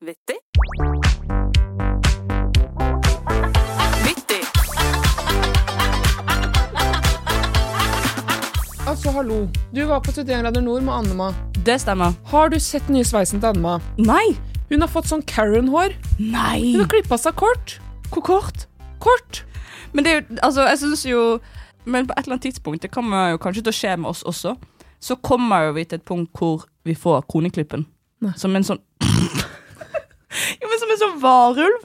Vittig. Vittig. Altså, hallo. Du var på 31 grader nord med Annema. Det stemmer. Har du sett den nye sveisen til Annema? Nei! Hun har fått sånn Karen-hår. Nei! Hun har klippa seg kort. Hvor kort? Kort! Men det er jo, altså, jeg synes jo Men på et eller annet tidspunkt, det kommer jo kanskje til å skje med oss også, så kommer jo vi til et punkt hvor vi får kroneklippen. Nei. Som en sånn Jo, men som en sånn varulv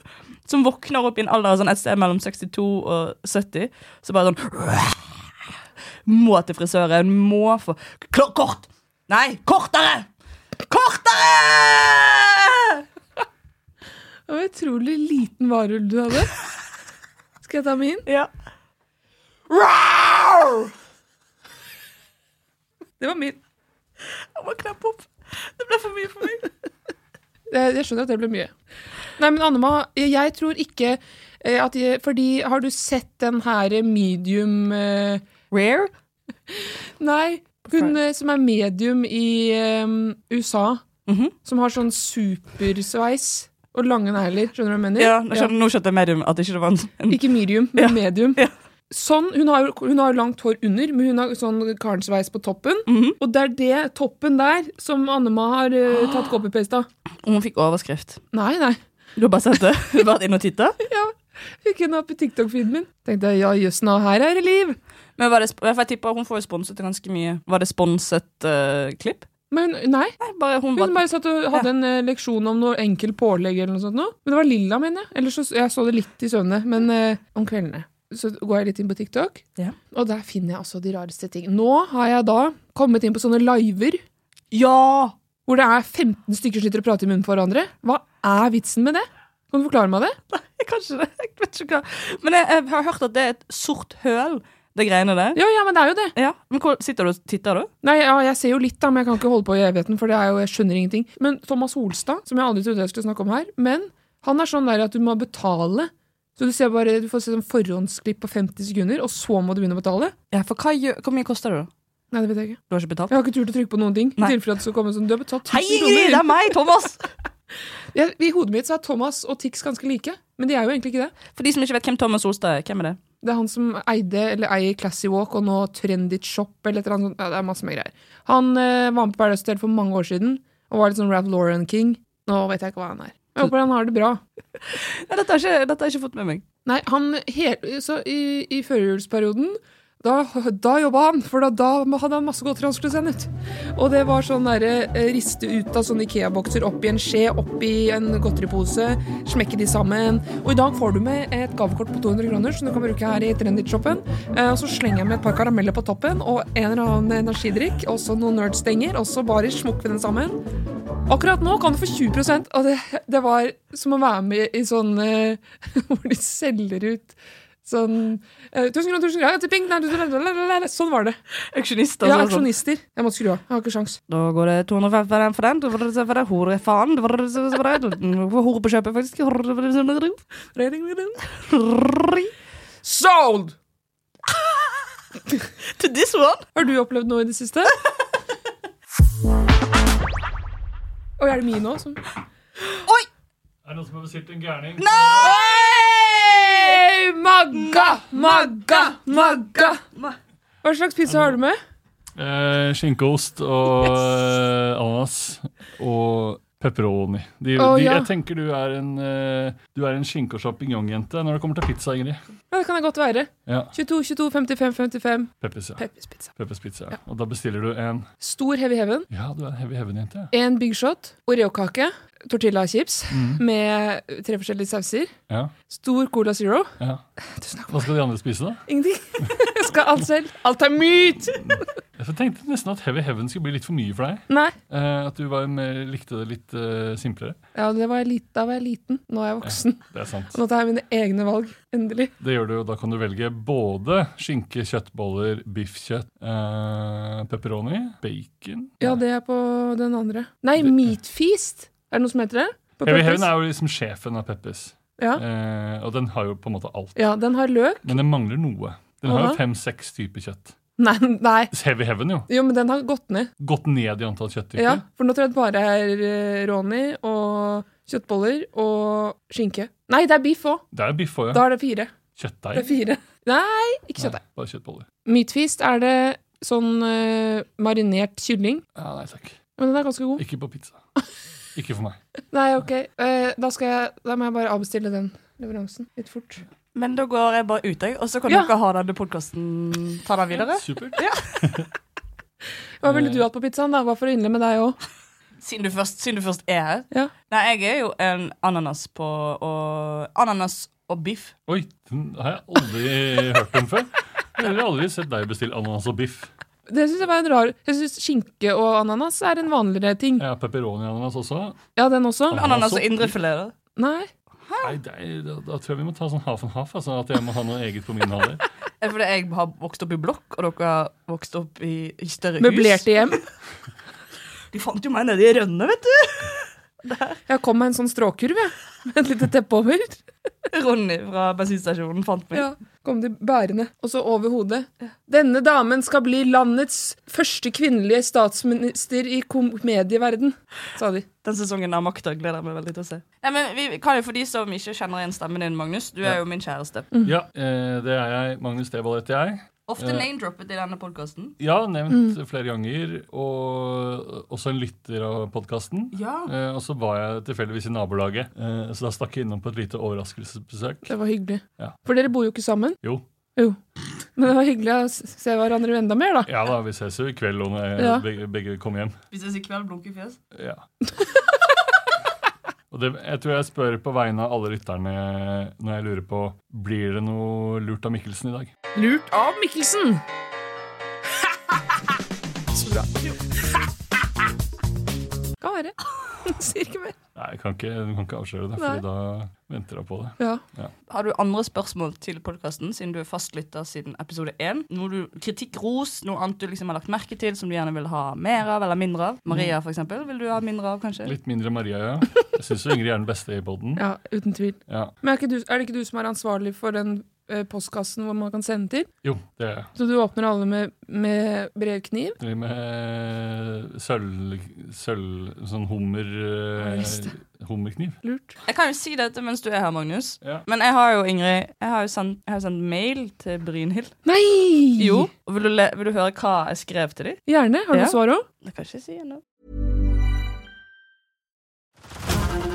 som våkner opp i en alder av sånn et sted mellom 62 og 70, så bare sånn Må til frisøren, må få Kl- Kort! Nei, kortere! Kortere! Det var en utrolig liten varulv du hadde. Skal jeg ta min? Ja. Det var min. Jeg må klappe opp. Det ble for mye for meg. Jeg, Eh, jeg skjønner at det ble mye. Nei, men Annema, jeg, jeg tror ikke eh, at jeg, Fordi har du sett den her medium eh, Rare? Nei, hun eh, som er medium i eh, USA, Mhm. som har sånn supersveis og lange negler, skjønner du hva jeg mener? Ja, nå skjønte, nå skjønte jeg medium at ikke det var en sånn Ikke medium, men medium. ja. Sånn, hun har, jo- hun har jo langt hår under, men hun har sånn karensveis på toppen. Mhm. Og det er det toppen der som Annema har eh, tatt copy-paste av. Hun fikk overskrift. Nei, nei. Du har bare sett det? Du har vært inne og titta? Fikk henne opp i TikTok-feeden min. Tenkte jeg, ja jøss, nå her er det liv. Men var det, sp- jeg tipper hun får jo sponset ganske mye. Var det sponset eh, klipp? Men nei, Nei, bare hun var hun bare satt og hadde en eh, leksjon om noe enkel pålegg eller noe sånt. Nå. Men det var lilla, mener jeg. Eller så, jeg så det litt i søvne, men eh, om kveldene. Så går jeg litt inn på TikTok, Ja. og der finner jeg altså de rareste ting. Nå har jeg da kommet inn på sånne liver, Ja! hvor det er 15 stykker som sitter og prater i munnen på hverandre. Hva er vitsen med det? Kan du forklare meg det? Jeg kan ikke det. Jeg vet ikke hva Men jeg, jeg har hørt at det er et sort høl, det greiene der. Ja, ja, men det er jo det. Ja. Men hvor sitter du og titter, da? Nei, ja, jeg ser jo litt, da, men jeg kan ikke holde på i evigheten, for det er jo, jeg skjønner ingenting. Men Thomas Holstad, som jeg aldri trodde jeg skulle snakke om her, men han er sånn der at du må betale. Så du ser bare, du får se sånn forhåndsklipp på 50 sekunder, og så må du begynne å betale. Ja, for hva gjør Hvor mye koster det, da? Nei, det vet jeg ikke. Du har ikke betalt? Jeg har ikke turt å trykke på noen ting. Nei. I tilfelle at det skal komme sånn, du har betalt Hei, 1000 Ingrid! Det kroner. er meg, Thomas! Jeg, I hodet mitt så er Thomas og Tix ganske like, men de er jo egentlig ikke det. For de som ikke vet hvem Thomas Solstad er, hvem er det? Det er han som eide, eller eier Classy Walk og nå Trendit Shop eller et eller annet sånt. Ja, det er masse med greier. Han eh, var med på Paradise Hotel for mange år siden, og var litt sånn Rav Lauren King. Nå vet jeg ikke hva han er. Jeg håper han har det bra. Nei, dette har jeg ikke, dette har jeg ikke fått med meg. Nei, han hel, så i, i førjulsperioden da, da jobba han, for da, da hadde han masse godteri han skulle sende ut. Og det var sånn derre eh, riste ut av sånne Ikea-bokser, oppi en skje, oppi en godteripose, smekke de sammen. Og i dag får du med et gavekort på 200 kroner som du kan bruke her i Trendit-shoppen. Eh, og så slenger jeg med et par karameller på toppen og en eller annen energidrikk, og så noen nerdstenger, og så bare smukker vi den sammen. Akkurat nå kan du få 20 og det, det var som å være med i sånn eh, Hvor de selger ut sånn eh, 1000 kroner, 1000 kroner, tipping, nei, lalalala. Sånn var det. Auksjonister. Ja, altså, sånn. aksjonister. Jeg måtte skru av. Jeg har ikke sjans. Da går det 205 for den for den. For den. Hore, faen. Hore på kjøpet, faktisk. Sold! To this one. Har du opplevd noe i det siste? Oi, er det mine òg? Er det noen som har bestilt en gærning? Hey, magga, magga, magga! Hva slags pizza har du med? Eh, skinkeost og eh, ananas og pepperoni. De, Å, de, ja. Jeg tenker du er en, eh, du er en skinke- og sjampinjongjente når det kommer til pizza, Ingrid. Ja, Det kan jeg godt være. Ja, 22, 22, 55, 55. Peppers, ja. Peppers pizza. Peppers pizza. Ja. Og da bestiller du en Stor heavy heaven. Ja, du er en heavy heaven-jente. ja. En Big Shot, Oreo-kake, tortillachips med tre forskjellige sauser. Mm. Ja, Stor Cola Zero. ja. Tusen takk. Hva skal de andre spise, da? Ingenting. Jeg skal alt selv. Alt er myt! Jeg tenkte nesten at heavy heaven skulle bli litt for mye for deg. Nei. Eh, at du var mer, likte det litt eh, simplere. Ja, det var jeg lit- da var jeg liten. Nå er jeg voksen. Det er sant. Nå tar jeg mine egne valg. Endelig. Det gjør du, og da kan du velge både skinke, kjøttboller, biffkjøtt, eh, pepperoni, bacon Ja, det er på den andre. Nei, Meat Feast. Er det noe som heter det? På Heavy Peppers? Heaven er jo liksom sjefen av Peppers, Ja. eh, og den har jo på en måte alt. ja, den har løk. Men den mangler noe. Den har Aha. jo fem-seks typer kjøtt. Nei, nei. Heavy Heaven jo, Jo, men den har gått ned. gått ned i antall kjøtttyper. Ja, For nå tror jeg det bare er eh, Ronny og Kjøttboller og skinke. Nei, det er biff òg. Det er biff òg, ja. Da er det fire. Det Kjøttdeig. er fire. Nei, ikke Nei, kjøttdeig. bare kjøttboller. Meatfeast er det sånn eh, marinert kylling. Ja, nei takk. Men den er ganske god. Ikke på pizza. Ikke for meg. Nei, OK. Eh, da, skal jeg, da må jeg bare avbestille den leveransen litt fort. Men da går jeg bare ut, jeg. Og så kan Ja. dere ha denne podkasten ta den videre. Supert. Hva ville Eh. du hatt på pizzaen? da? Hva for å innle med deg òg? Siden du først, siden du først er her. Ja. Nei, jeg er jo en ananas på og, Ananas og biff. Oi, den har jeg aldri hørt om før. Jeg har aldri sett deg bestille ananas og biff. Det syns jeg var en rar Jeg syns skinke og ananas er en vanligere ting. Ja, Pepperoni-ananas også. Ja, den også? Ananas Ananas og og- indrefilet. da. Nei. Nei, det er, da, da tror jeg vi må ta sånn half and half. Altså, at jeg må ha noe eget på min halvdel. Er fordi jeg har vokst opp i blokk, og dere har vokst opp i, i større hus. Møblerte hjem. De fant jo meg nede i rønnet, vet du. Jeg kom med en sånn stråkurv, jeg. Med et lite teppe over. Ronny fra bensinstasjonen fant meg. Ja. Kom de bærende. Og så over hodet. Denne damen skal bli landets første kvinnelige statsminister i komedieverden, sa de. Den sesongen av Makta gleder jeg meg veldig til å se. Nei, men vi kan jo For de som ikke kjenner igjen stemmen din, Magnus, du er jo min kjæreste. Ja, eh, det er jeg. Magnus Devold heter jeg. Ofte name-droppet i denne podkasten. Ja, nevnt flere ganger. Og også en lytter av podkasten. Ja. Eh, og så var jeg tilfeldigvis i nabolaget, eh, så da stakk jeg innom på et lite overraskelsesbesøk. Det var hyggelig. Ja. For dere bor jo ikke sammen. Jo. Jo. Men det var hyggelig å s- se hverandre enda mer, da. Ja da, vi ses jo i kveld når jeg- Ja. begge, begge kommer hjem. Vi ses i kveld, blunkefjes. Ja. Og det, jeg tror jeg spør på vegne av alle lytterne når jeg lurer på blir det noe lurt av Mikkelsen i dag. Lurt av Mikkelsen! Så bra. Kan være. Sier ikke mer. Nei, jeg kan ikke, Du kan ikke avsløre det, Nei. for da venter jeg på det. Ja. Har du andre spørsmål til podkasten, siden du er fastlytter siden episode 1? Noe du, kritikk, ros, noe annet du liksom har lagt merke til som du gjerne vil ha mer av eller mindre av? Maria, for eksempel, vil du ha mindre av, kanskje? Litt mindre Maria, ja. Jeg syns Ingrid er den beste i poden. ja, uten tvil. Ja. Men er, ikke du, er det ikke du som er ansvarlig for den eh, postkassen hvor man kan sende til? Jo, det er jeg. Så du åpner alle med, med brevkniv? Driver med sølv... sølv sånn hummer... jeg Eh, visste. hummerkniv. Lurt. Jeg kan jo si dette mens du er her, Magnus. Ja. Men jeg har jo, Ingrid, jeg har jo sendt, jeg har sendt mail til Brynhild. Nei! Jo. Og vil du, le, vil du høre hva jeg skrev til dem? Gjerne. Har du Ja. noe svar òg? Det kan jeg ikke si ennå.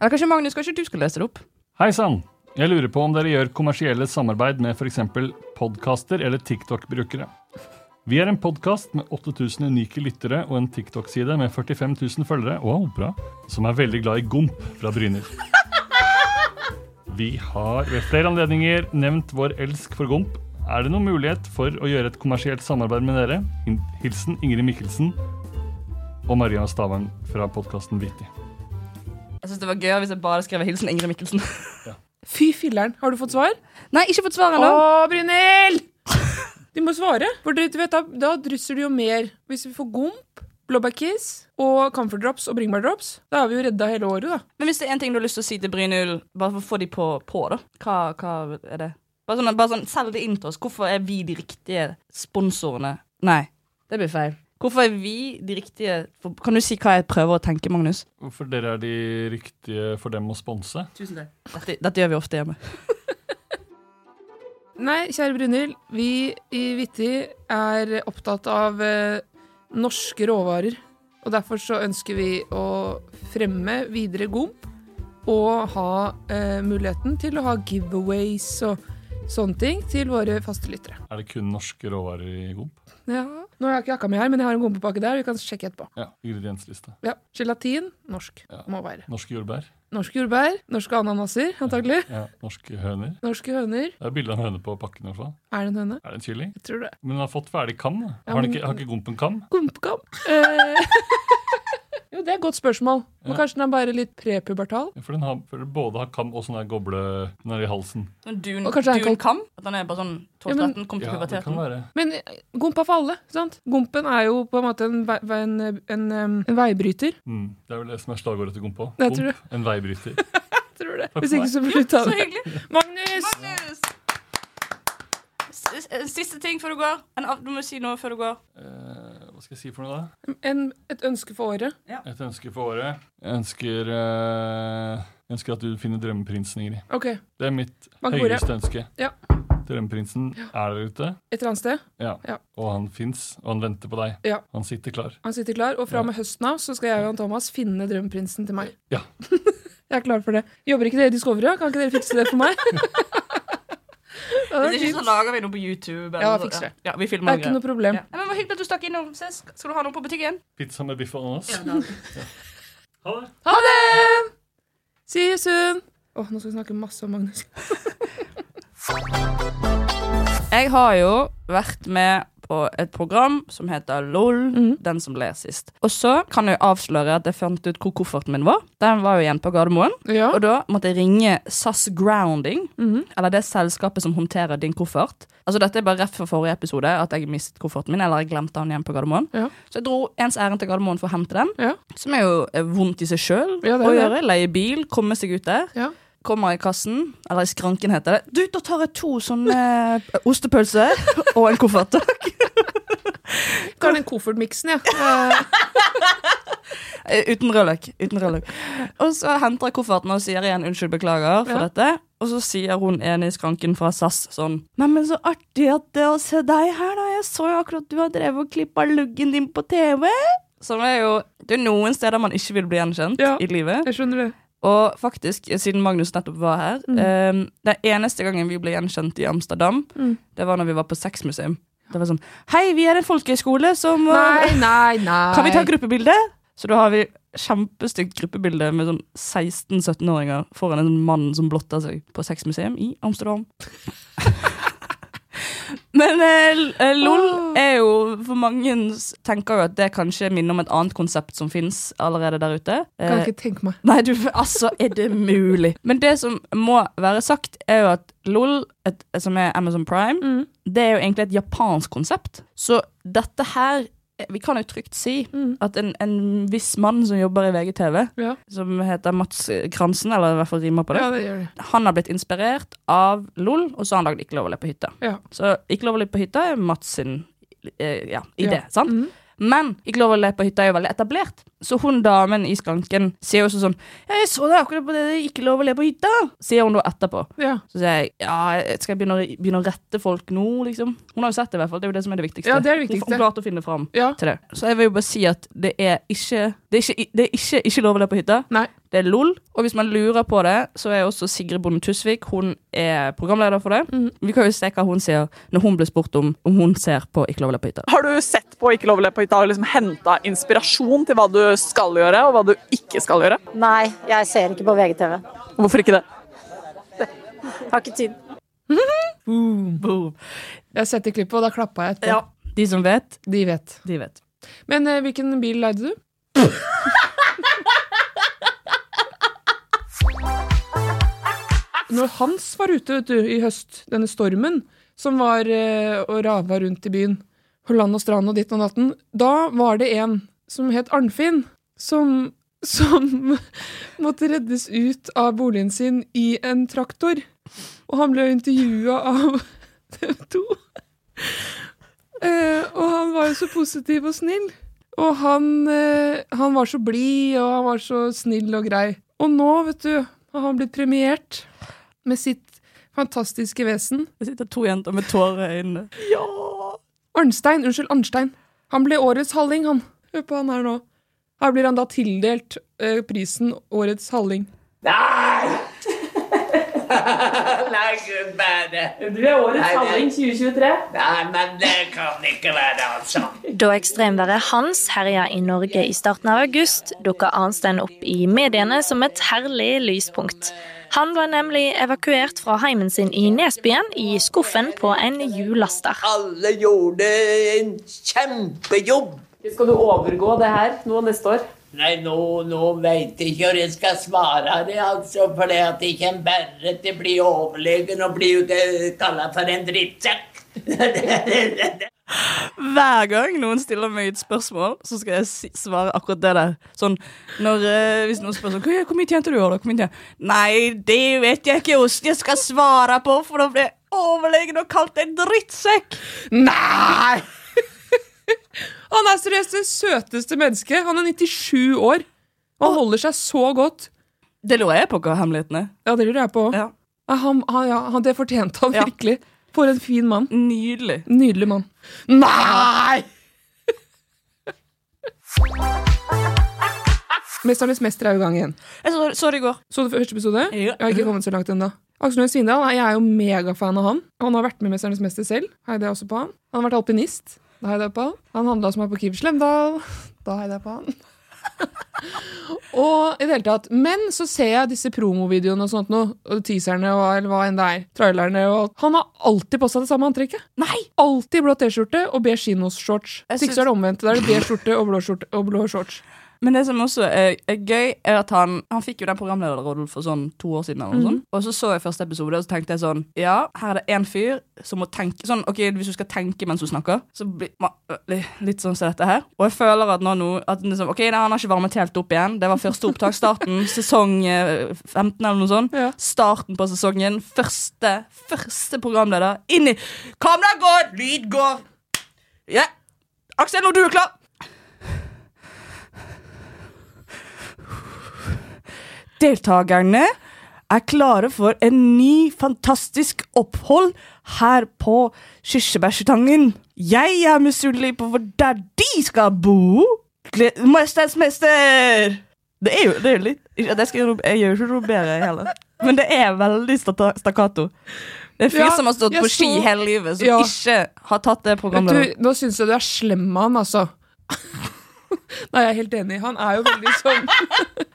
Eller kanskje Magnus, kanskje du skal lese det opp? Hei sann! Jeg lurer på om dere gjør kommersielle samarbeid med f.eks. podkaster eller TikTok-brukere. Vi er en podkast med 8000 unike lyttere og en TikTok-side med 45 000 følgere wow, bra, som er veldig glad i Gomp fra Bryner. Vi har ved flere anledninger nevnt vår elsk for Gomp. Er det noen mulighet for å gjøre et kommersielt samarbeid med dere? Hilsen Ingrid Mikkelsen og Maria Stavang fra podkasten Viti. Jeg synes det var gøyere hvis jeg bare skrev 'Hilsen Ingrid Mikkelsen'. Fy filleren. Har du fått svar? Nei, ikke fått svar Å, ennå. Brynhild! Du må svare. For du vet, da, da drysser du jo mer. Hvis vi får gomp, blåbærkiss og comfort drops og bringebærdrops, da er vi jo redda hele året, da. Men hvis det er en ting du har lyst til å si til Brynhild, bare for å få de på, på da. Hva, hva er det? Bare sånn, bare sånn, Selg det inn til oss. Hvorfor er vi de riktige sponsorene? Nei, det blir feil. Hvorfor er vi de riktige for, Kan du si hva jeg prøver å tenke, Magnus? Hvorfor dere er de riktige for dem å sponse? Tusen takk. Dette, dette gjør vi ofte hjemme. Nei, kjære Brynhild. Vi i Vitti er opptatt av eh, norske råvarer. Og derfor så ønsker vi å fremme videre GOM og ha eh, muligheten til å ha giveaways og sånne ting til våre faste lyttere. Er det kun norske råvarer i Gomp? Ja. Nå har jeg ikke jakka mi her, men jeg har en gompepakke der. Vi kan sjekke etterpå. Ja. Ingrediensliste. Ja, Gelatin norsk må være. Norske jordbær. Norske jordbær, norske ananaser antagelig. Ja. Norske høner. Norske høner. Det er bilde av en høne på pakken. i hvert fall. Er det en høne? Er det en kylling? Jeg tror det. Men den har fått ferdig kam. da. Har, den ikke, har ikke gompen kam? Gumpekam. Eh. jo, det er et godt spørsmål. Men kanskje den er bare litt prepubertal? Ja, For den har, for den både har kam og sånn der goble den er i halsen. Sånn dun, Og kanskje han kan- Dunkam? At han er bare sånn 12-13, kom til Ja, det puberteten. kan være. Men eh, gomp er for alle. sant? Gompen er jo på en måte en, vei- vei- en, eh, en, eh, en veibryter. Mm. Det er vel det som er slagordet til Gompa. Jeg tror Gomp, en veibryter. Tror det. for Hvis ikke så blir du ta Så det. hyggelig. Magnus! Magnus! S- s- Siste ting før du går. En, av- du må si noe før du går. Eh, hva skal jeg si for noe, da? En, et ønske for året. Et ønske for året. Jeg ønsker, eh, jeg ønsker at du finner drømmeprinsen, Ingrid. OK. Det er mitt Bank bordet. høyeste ønske. Ja. Drømmeprinsen er der ute, Et eller annet sted. ja. Ja. og han fins, og han venter på deg. Ja. Han sitter klar. Han sitter klar. Og fra og med høsten av så skal jeg og Jan Thomas finne drømmeprinsen til meg. Ja. Jeg er klar for det. Jobber ikke dere i Discovery? da? Kan ikke dere fikse det for meg? Ja, det Hvis er ikke, så fint. lager vi noe på YouTube. Ja, noe- fiks det. Ja, vi Det filmer er ikke noe problem. Ja. Ja, men Hvor hyggelig at du stakk innom. Ses. Skal du ha noe på butikken? Pizza med biff og ananas. Ha det. Ha det! See you soon! Åh, nå skal vi snakke masse om Magnus. Jeg har jo vært med på et program som heter LOL, Mhm. den som ler sist. Og så kan jeg avsløre at jeg fant ut hvor kofferten min var. Den var jo igjen på Gardermoen. Ja. Mhm. Og da måtte jeg ringe SAS Grounding, eller det selskapet som håndterer din koffert. Altså Dette er bare rett fra forrige episode, at jeg mistet kofferten min, eller jeg glemte den igjen på Gardermoen. Ja. Så jeg dro ens ærend til Gardermoen for å hente den, Ja. som er jo eh, vondt i seg sjøl Ja, det å er gjøre. det. Leie bil, komme seg ut der Ja. kommer i kassen, eller i skranken heter det. Du, da tar jeg to sånne eh, ostepølser og en koffert. takk. Tar den koffertmiksen, jeg. Ja. Eh, Uten rødløk. Uten rødløk. Og så henter jeg kofferten og sier igjen unnskyld, beklager for Ja. dette. Og så sier hun en i skranken fra SAS sånn Neimen, så artig at det å se deg her, da. Jeg så jo akkurat du har drevet og klippa luggen din på TV. Som er jo Det er noen steder man ikke vil bli gjenkjent Ja. i livet. Jeg skjønner det. Og faktisk, siden Magnus nettopp var her Mm. eh, Den eneste gangen vi ble gjenkjent i Amsterdam, Mm. det var når vi var på sexmuseum. Det var sånn Hei, vi er en folkehøyskole som eh, Nei, nei, nei. Kan vi ta gruppebilde? Så da har vi kjempestygt gruppebilde med sånn 16-17-åringer foran en mann som blotter seg på sexmuseum i Amsterdam. Men eh, l- eh, LOL er jo For mange s- tenker jo at det kanskje minner om et annet konsept som fins allerede der ute. Kan Eh, ikke tenke meg. Nei, du, altså, er det mulig? Men det som må være sagt, er jo at LOL, et, som er Amazon Prime, Mm. det er jo egentlig et japansk konsept. Så dette her Vi kan jo trygt si at en, en viss mann som jobber i VGTV, Mm. Ja. som heter Mats Kransen, eller i hvert fall rimer på det, ja, det gjør det. han har blitt inspirert av LOL, og så har han lagd Ikke lov å le på hytta. Ja. Så Ikke lov å le på hytta er Mats sin eh, ja, idé, Ja. Mm. sant? Men Ikke lov å le på hytta er jo veldig etablert. Så hun damen i skranken sier jo også sånn «Ja, 'Jeg så deg akkurat på det der Ikke lov å le på hytta', sier hun da etterpå. Ja. Så sier jeg ja, jeg skal jeg begynne å, begynne å rette folk nå, liksom? Hun har jo sett det, i hvert fall. Det er jo det som er det viktigste. Ja, det er det viktigste. Hun, hun klarte å finne fram Ja. til det. Så jeg vil jo bare si at det er ikke Det er ikke, det er ikke, ikke lov å le på hytta. Nei. Det er LOL. Og hvis man lurer på det, så er også Sigrid Bonde Tusvik Hun er programleder for det. Vi kan jo se hva hun sier når hun blir spurt om om hun ser på Ikke lov å le på hytta. Har du sett på Ikke lov å le på hytta og liksom henta inspirasjon til hva du skal gjøre, og hva du ikke skal gjøre? Nei, jeg ser ikke på VGTV. Hvorfor ikke det? Har ikke tid. Boom. Jeg setter klippet, og da klappa jeg etterpå. Ja. De som vet, De vet. de vet. Men eh, hvilken bil leide du? Når Hans var ute vet du, i høst, denne stormen som var eh, og rava rundt i byen, på land og strand og ditt og natten, da var det en som het Arnfinn, som, som måtte reddes ut av boligen sin i en traktor. Og han ble intervjua av TV 2. Eh, og han var jo så positiv og snill. Og han, eh, han var så blid, og han var så snill og grei. Og nå, vet du, har han blitt premiert med sitt fantastiske vesen. Det sitter to jenter med tårer i øynene. Arnstein, unnskyld, Arnstein. Han ble årets halling, han. Hør på han her nå. Her blir han da tildelt eh, prisen Årets halling. Nei, Gud bære. Du er årets handling 2023. Nei, men det kan ikke være, altså. Da ekstremværet Hans herja er i Norge i starten av august, dukka Arnstein opp i mediene som et herlig lyspunkt. Han var nemlig evakuert fra heimen sin i Nesbyen i skuffen på en hjullaster. Alle gjorde en kjempejobb. Skal du overgå det her nå neste år? Nei, nå, nå veit jeg ikke hvor jeg skal svare det, altså. For det at jeg kan bare til å bli overlegen og bli kalla for en drittsekk. Hver gang noen stiller meg et spørsmål, så skal jeg si- svare akkurat det der. Sånn, når, eh, Hvis noen spør sånn, «Hva- hvor mye tjente du i år, da? Hvor mye tjente-» Nei, det vet jeg ikke hvordan jeg skal svare på, for da blir jeg overlegen og kalt en drittsekk. Nei! han er seriøst det søteste mennesket. Han er 97 år. Og han holder seg så godt. Det lurer jeg på hva hemmeligheten er. Ja, det lurer jeg på òg. Ja. Han, han, ja, han, det fortjente han Ja. virkelig. For en fin mann. Nydelig. Nydelig mann. Nei! Mesternes mester er jo i gang igjen. Jeg så, så det i går. Så du første episode? Ja. Jeg har ikke kommet så langt ennå. Aksel Lund Svindal, jeg er jo megafan av han. Han har vært med i Mesternes mester selv. Heide jeg også på han. Han har vært alpinist. Da heide jeg på han. Han handla som her på Kiv Slemdal. Da heide jeg på han. og i det hele tatt. Men så ser jeg disse promovideoene og sånt nå. Og teaserne og eller hva enn det er. Trailerne og alt. Han har alltid på seg det samme antrekket. Nei! Alltid blå T-skjorte og beige chinos-shorts. Jeg Hvis ikke så er det omvendt. Da er det beige skjorte og blå skjorte og blå shorts. Men det som også er, er gøy, er at han, han fikk jo den programlederrollen for sånn to år siden. eller noe sånt. Og så så jeg første episode, og så tenkte jeg sånn Ja, her er det én fyr som må tenke sånn, ok, Hvis du skal tenke mens hun snakker, så blir ma- li- litt sånn som dette her. Og jeg føler at nå nå at den liksom, OK, nei, han har ikke varmet helt opp igjen. Det var første opptak. Starten sesong eh, 15 eller noe sånt. Ja. Starten på sesongen. Første, første programleder. Inn i Kamera går! Lyd går! Ja. Aksel, når du er klar Deltakerne er klare for en ny, fantastisk opphold her på Kirsebærstangen. Jeg er misunnelig på hvor der de skal bo. Gle- Mesterens mester! Det er jo, det er jo litt ja, det skal jeg, ro- jeg gjør jo ikke noe bedre heller. Men det er veldig stata- stakkato. Det er en fyr Ja, som har stått jeg på ski så- hele livet, som Ja. ikke har tatt det Vet programmet. du, nå syns jeg du er slem med han, altså. Nei, jeg er helt enig. Han er jo veldig sånn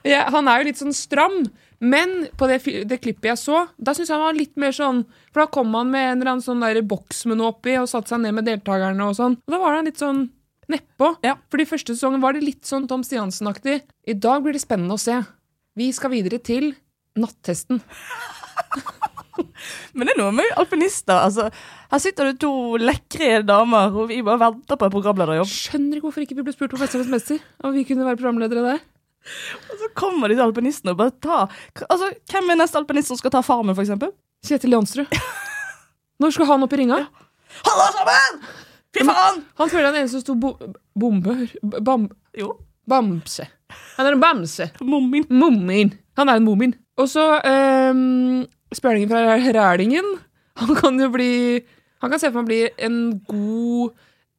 ja, Han er jo litt sånn stram. Men på det, fi- det klippet jeg så, da syns jeg han var litt mer sånn For da kom han med en eller annen sånn der boks med noe oppi og satte seg ned med deltakerne og sånn. Og da var han litt sånn nedpå. Ja. Fordi første sesongen var det litt sånn Tom Stiansen-aktig. I dag blir det spennende å se. Vi skal videre til nattesten. Men det er noe med alpinister. Altså, her sitter det to lekre damer, og vi bare venter på en programlederjobb. Skjønner ikke hvorfor ikke vi ble spurt på Mesternes mester om vi kunne være programledere der. Og så kommer disse alpinistene og bare tar Altså, Hvem er neste alpinist som skal ta Farmen, for eksempel? Kjetil Jansrud. Når skal han opp i ringa? Hallo, sammen! Fy faen! Han føler han er en som sto bo bombe b- bam Jo. Bamse. Han er en bamse. Mummin. Mummin. Han er en mummin. Og så um, Spjælingen fra Rælingen. Han kan jo bli Han kan se for meg bli en god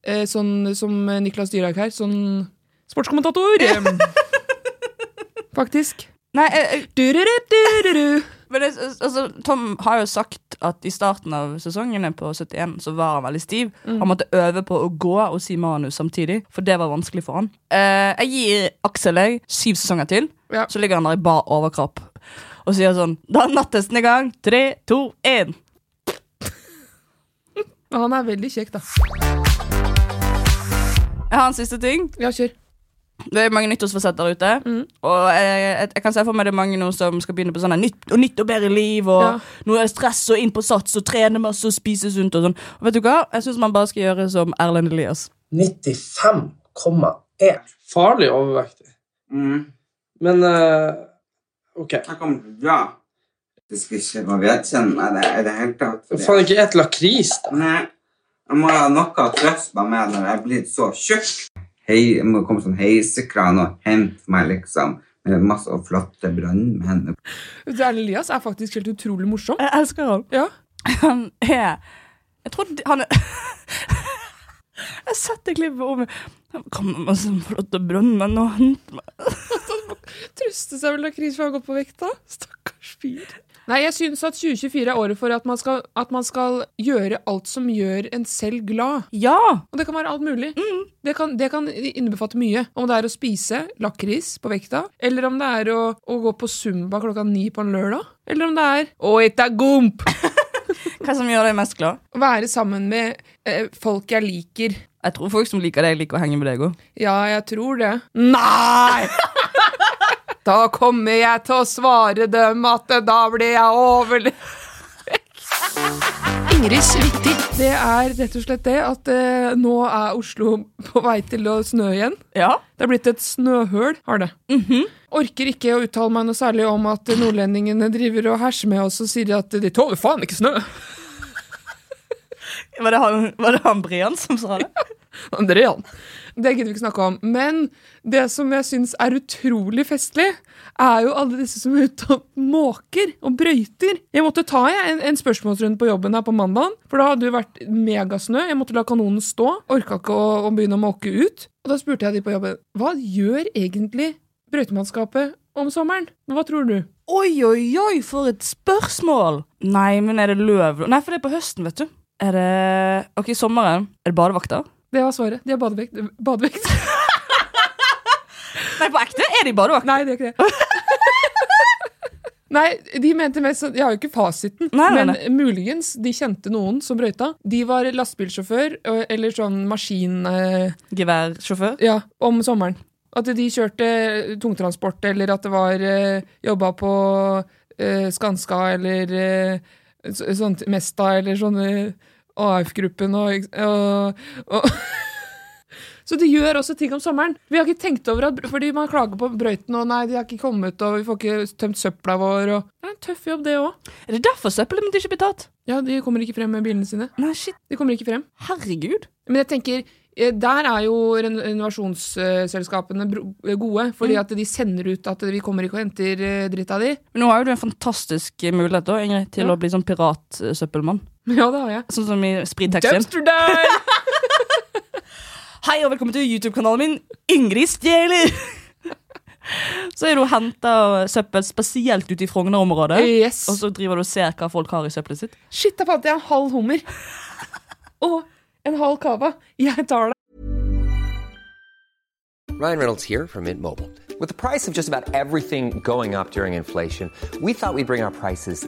eh, sånn som Niklas Dyrhaug her, sånn sportskommentator. Em, Faktisk. Nei, jeg, jeg, Dururu, dururu. men jeg, altså, Tom har jo sagt at i starten av sesongene på 71 så var han veldig stiv. Han måtte øve på å gå og si manus samtidig, for det var vanskelig for han. Eh, jeg gir Aksel jeg, syv sesonger til, Ja. så ligger han der i bar overkropp og sier sånn Da er nattesten i gang. Tre, to, én. Men Han er veldig kjekk, da. Jeg har en siste ting. Ja, kjør. Det er mange nyttårsforsetter ute. Og jeg, jeg, jeg kan se for meg det er mange nå som skal begynne på sånn her nytt, og nytt og bedre liv. Og Ja. nå er det stress og inn på sats og trene masse og spise sunt og sånn. Og vet du hva? Jeg syns man bare skal gjøre som Erlend Elias. 95,1. Farlig overvektig. Mm. Men eh, OK. Det kommer til å bli bra. Det skal ikke gå vedkjenne det i det hele tatt. fordi- Faen, ikke et lakris, da. Nei, jeg må ha noe å trøste meg med når jeg er blitt så tjukk. Hei, jeg må komme som heisekran og hente meg liksom med masse flotte brannmenn. Erlend Elias er faktisk helt utrolig morsom. Jeg elsker han. Ja. Han er Jeg tror de- han er Jeg setter klippet om. Kom med den flotte brønnen og hent meg. Truste seg vel av kris for å ha gått på vekta? Stakkars fyr. Nei, jeg syns at 2024 er året for at man, skal, at man skal gjøre alt som gjør en selv glad. Ja! Og det kan være alt mulig. Det, kan, det kan innebefatte mye. Om det er å spise lakris på vekta, eller om det er å, å gå på Zumba klokka ni på en lørdag, eller om det er å ete gomp. Hva som gjør deg mest glad? Å være sammen med eh, folk jeg liker. Jeg tror folk som liker deg, liker å henge med deg òg. Ja, jeg tror det. Nei! Da kommer jeg til å svare dem at da blir jeg overlevd. Ingrid Svitti. Det er rett og slett det at eh, nå er Oslo på vei til å snø igjen. Ja. Det er blitt et snøhøl, har det. Orker ikke å uttale meg noe særlig om at nordlendingene driver og herser med oss og sier at de tåler faen ikke snø. Var det han, var det han Brian som sa det? Andrean. Det gidder vi ikke snakke om. Men det som jeg syns er utrolig festlig, er jo alle disse som er ute og måker og brøyter. Jeg måtte ta jeg, en, en spørsmålsrunde på jobben her på mandagen, for da hadde det jo vært megasnø. Jeg måtte la kanonen stå. Orka ikke å, å begynne å måke ut. Og da spurte jeg de på jobben hva gjør egentlig brøytemannskapet om sommeren. Hva tror du? Oi, oi, oi, for et spørsmål! Nei, men er det løv Nei, for det er på høsten, vet du. Er det Ok, i sommeren. Er det badevakter? Det var svaret. De har badevekt. badevekt. Nei, på ekte? Er de badevakter? Nei, det er ikke det. Nei, de mente mest sånn- Jeg har jo ikke fasiten, Nei, nei, men nei. muligens de kjente noen som brøyta. De var lastebilsjåfør ø, eller sånn maskin... eh, Geværsjåfør? Ja, om sommeren. At de kjørte tungtransport, eller at det var eh, jobba på eh, Skanska eller eh, så, sånt Mesta eller sånne AF-gruppen og, og, og Så de gjør også ting om sommeren. Vi har ikke tenkt over at Fordi man klager på brøyten og nei, de har ikke kommet og vi får ikke tømt søpla vår og Det er en tøff jobb, det òg. Er det derfor søppelet mitt ikke blir tatt? Ja, de kommer ikke frem med bilene sine. Nei, shit. De kommer ikke frem. Herregud. Men jeg tenker, eh, der er jo ren- renovasjonsselskapene bro- eh, gode, fordi at de sender ut at vi kommer ikke og henter eh, dritt av de. Men nå har jo du en fantastisk eh, mulighet da, Ingrid, til Ja. å bli sånn piratsøppelmann. Ja, det har jeg. Sånn som i sprittaxien. Dumpster dive! Hei og velkommen til YouTube-kanalen min, Ingrid Stjeler! Så er du og henter søppel spesielt ute i Frogner-området. Yes. Og så driver du og ser hva folk har i søppelet sitt. Shit, da fant jeg en halv hummer. Og en halv cava. Jeg tar det. Ryan Reynolds here from Mint Mobile. With the price of just about everything going up during inflation, we thought we'd bring our prices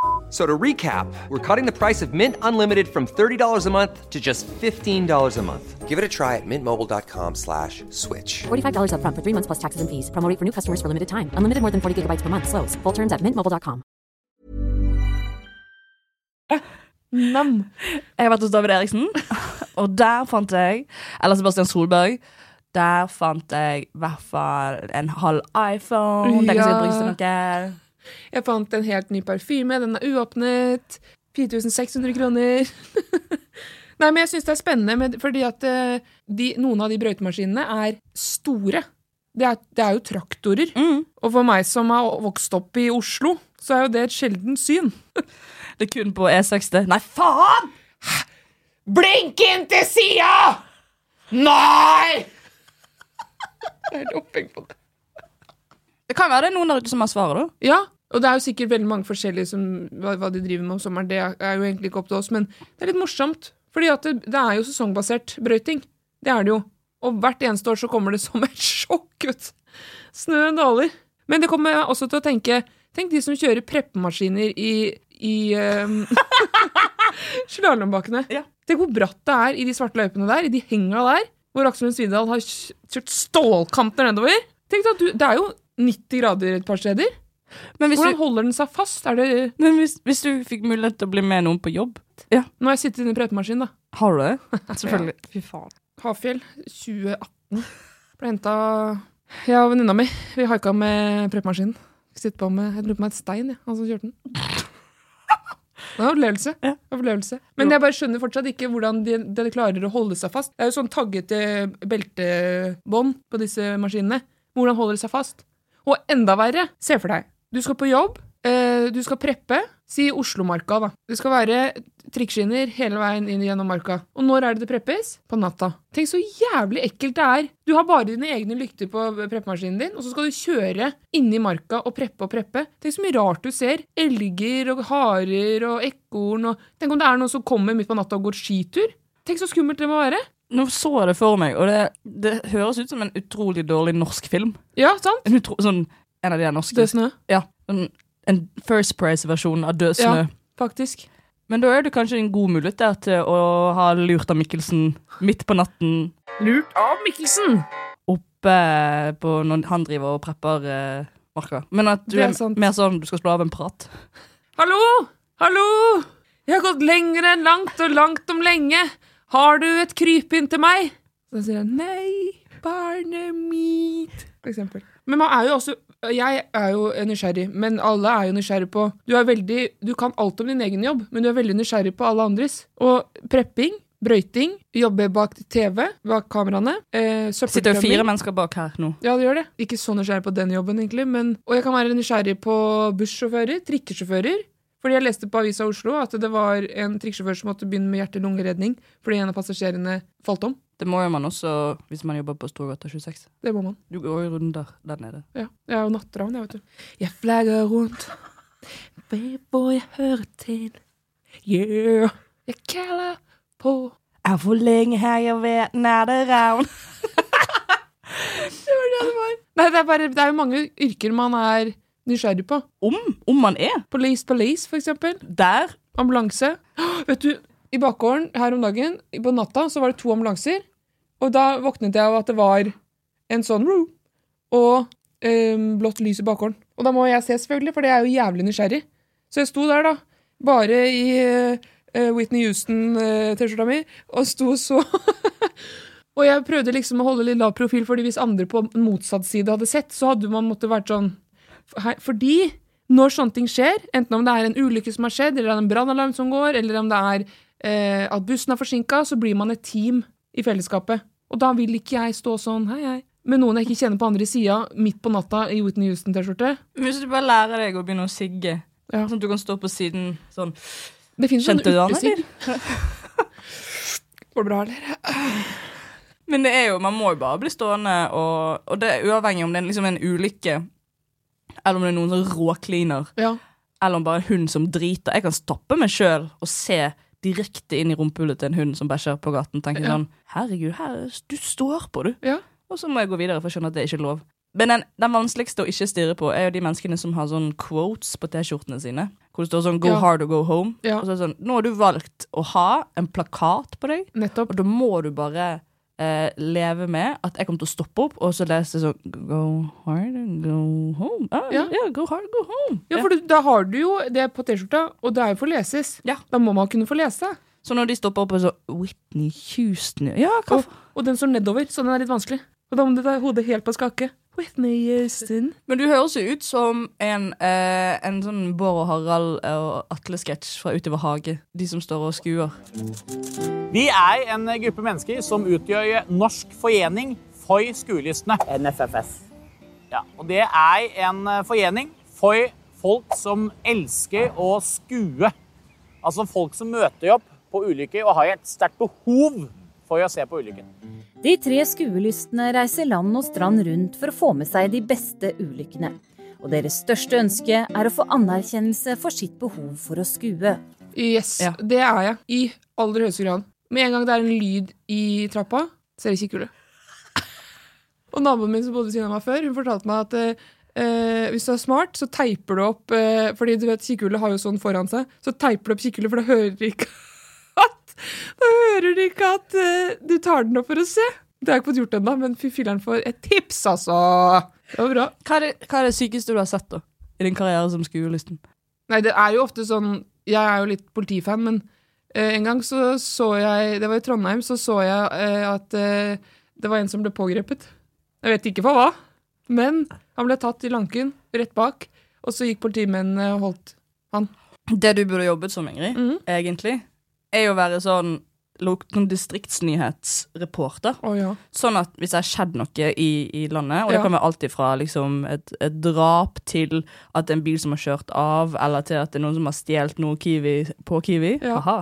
So to recap, we're cutting the price of Mint Unlimited from $30 a month to just $15 a month. Give it a try at mintmobile.com slash switch. $45 up front for three months plus taxes and fees. Promo rate for new customers for limited time. Unlimited more than 40 gigabytes per month. Slows. Full terms at mintmobile.com. Nam. Jeg har vært hos David Eriksen, og der fant jeg Eller Sebastian Solberg. Der fant jeg i hvert fall en halv iPhone. Den kan sikkert brukes til noe. Jeg fant en helt ny parfyme. Den er uåpnet. 4600 kroner. Nei, men jeg syns det er spennende, med, fordi at eh, de, noen av de brøytemaskinene er store. Det er, det er jo traktorer. Og for meg som har vokst opp i Oslo, så er jo det et sjeldent syn. Det er kun på E6. det. Nei, faen! Blink inn til sida! Nei! Jeg er opphengt på det. Det kan være det er noen der ute som har svaret, da. Ja, og det er jo sikkert veldig mange forskjellige som, hva, hva de driver med om sommeren. Det er er jo egentlig ikke opp til oss, men det er litt morsomt. Fordi at det, det er jo sesongbasert brøyting. Det er det jo. Og hvert eneste år så kommer det som et sjokk ut. Snøen daler. Men det kommer meg også til å tenke Tenk de som kjører preppemaskiner i, i um, slalåmbakkene. Ja. Tenk hvor bratt det er i de svarte løypene der, i de henga der, hvor Aksel Lund Svindal har kj- kjørt stålkanter nedover. Tenk deg at du, Det er jo 90 grader et par steder. hvis Hvordan du- holder den seg fast? Er det Men hvis, hvis du fikk mulighet til å bli med noen på jobb ja. Nå har jeg sittet inne i pretemaskinen, da. Har du det? Selvfølgelig. Ja. Hafjell 2018. Ble henta Jeg og venninna mi Vi haika med prepmaskinen. Sitter på med Jeg lurer på meg et stein, jeg, han som kjørte den. Det var en opplevelse. opplevelse. Men jeg bare skjønner fortsatt ikke hvordan de, de klarer å holde seg fast. Det er jo sånn taggete beltebånd på disse maskinene. Hvordan holder det seg fast? Og enda verre, se for deg. Du skal på jobb, eh, du skal preppe. Si Oslomarka, da. Det skal være trikkskinner hele veien inn gjennom marka. Og når er det det preppes? På natta. Tenk så jævlig ekkelt det er. Du har bare dine egne lykter på preppemaskinen din, og så skal du kjøre inni marka og preppe og preppe. Tenk så mye rart du ser. Elger og harer og ekorn og Tenk om det er noen som kommer midt på natta og går skitur? Tenk så skummelt det må være. Nå så jeg det for meg, og det, det høres ut som en utrolig dårlig norsk film. Ja, sant? En, utro, sånn, en av de der norske. Død snø? Ja. En, en First Price-versjon av Død snø. Ja, faktisk. Men da er det kanskje en god mulighet der til å ha lurt av Mikkelsen midt på natten. Lurt av Mikkelsen! Oppe på når han driver og prepper eh, marka. Men at du Det er er, sant. mer sånn du skal slå av en prat. Hallo! Hallo! Jeg har gått lenger enn langt og langt om lenge. Har du et krypinn til meg? Så sier jeg nei, barnet mitt, for eksempel. Men man er jo også Jeg er jo nysgjerrig, men alle er jo nysgjerrig på Du er veldig Du kan alt om din egen jobb, men du er veldig nysgjerrig på alle andres. Og prepping, brøyting, jobbe bak TV, bak kameraene, eh, Sitter jo fire søppeltømming. mennesker bak her nå. Ja, det gjør det. Ikke så nysgjerrig på den jobben, egentlig. Men, og jeg kan være nysgjerrig på bussjåfører, trikkesjåfører. Fordi jeg leste på Avisa Oslo at det var en trikkesjåfør som måtte begynne med hjerte-lungeredning fordi en av passasjerene falt om. Det må jo man også hvis man jobber på Storgata 26. Det må man. Du går jo runder der nede. Ja, Jeg er jo natteravn, jeg, vet du. Jeg flagger rundt, vet hvor jeg hører til. Yeah! Jeg kaller på Er for lenge her jeg vet natteravn. Det var det det var. Nei, det er, bare, det er jo mange yrker man er nysgjerrig på. Om, om man er. Police Police, for eksempel. Der. Ambulanse. Åh, Vet du, i bakgården her om dagen, på natta, så var det to ambulanser. Og da våknet jeg av at det var en sånn roo, og ehm, blått lys i bakgården. Og da må jeg se, selvfølgelig, for det er jo jævlig nysgjerrig. Så jeg sto der, da, bare i eh, Whitney Houston-T-skjorta mi, og sto så Og jeg prøvde liksom å holde litt lav profil, fordi hvis andre på motsatt side hadde sett, så hadde man måtte vært sånn her- Fordi når sånne ting skjer, enten om det er en ulykke som har skjedd, eller en brannalarm som går, eller om det er eh, at bussen er forsinka, så blir man et team i fellesskapet. Og da vil ikke jeg stå sånn hei, hei, med noen jeg ikke kjenner på andre sida, midt på natta i Whitney Houston-T-skjorte. Hvis du bare lærer deg å begynne å sigge, Ja. sånn at du kan stå på siden sånn Det finnes Kjente du han, urtesigg. eller? Går det bra, eller? Men det er jo, man må jo bare bli stående, og, og det er uavhengig om det er liksom en ulykke, eller om det er noen som råkliner, Ja. eller om bare en hund som driter. Jeg kan stoppe meg sjøl og se direkte inn i rumpehullet til en hund som bæsjer på gaten. Tenker Ja. sånn Herregud, her, du står på, du. Ja. Og så må jeg gå videre, for jeg skjønner at det er ikke lov. Men den, den vanskeligste å ikke stirre på, er jo de menneskene som har sånn quotes på T-skjortene sine. Hvor det står sånn 'go Ja. hard or go home'. Ja. Og så er det sånn, Nå har du valgt å ha en plakat på deg, Nettopp. og da må du bare eh, leve med at jeg kommer til å stoppe opp, og så lese sånn 'go hard and go home'. Ah, ja. Ja. go hard, go home. Ja, for du, da har du jo det på T-skjorta, og det er jo for leses. Da må man kunne få lese. Så når de stopper opp og så Whitney Houston Ja, hva og, og den står nedover, så den er litt vanskelig. Og da må du ta hodet helt på skake. Whitney Houston. Men du høres jo ut som en, eh, en sånn Bård og Harald og Atle-sketsj fra Utover hage. De som står og skuer. Vi er en gruppe mennesker som utgjør Norsk forening for skuelystne. NFFS. Ja, og det er en forening for folk som elsker å skue. Altså folk som møter opp på ulykker og har et sterkt behov for å se på ulykken. De tre skuelystne reiser land og strand rundt for å få med seg de beste ulykkene. Og deres største ønske er å få anerkjennelse for sitt behov for å skue. Yes, det er jeg. I aller høyeste grad. Med en gang det er en lyd i trappa, så er det kikkhull. Og naboen min som bodde ved siden av meg før, hun fortalte meg at eh, eh, hvis du er smart, så teiper du opp eh, Fordi du vet, kikkhullet har jo sånn foran seg. Så teiper du opp kikkhullet, for da hører du ikke at Da hører du ikke at eh, du tar den opp for å se. Det har jeg ikke fått gjort ennå, men fy filleren for et tips, altså! Det var bra. Hva er det, hva er det sykeste du har sett da, i din karriere som skuelisten? Nei, det er jo ofte sånn Jeg er jo litt politifan, men eh, en gang så så jeg Det var i Trondheim, så så jeg eh, at eh, det var en som ble pågrepet. Jeg vet ikke for hva, men han ble tatt i lanken rett bak, og så gikk politimennene og holdt han. Det du burde jobbet som, Ingrid, egentlig, er jo å være sånn lokal distriktsnyhetsreporter. Sånn at hvis det har skjedd noe i, i landet, og det Ja. kan være alt ifra liksom, et, et drap til at det er en bil som har kjørt av, eller til at det er noen som har stjålet noe kiwi på Kiwi, haha,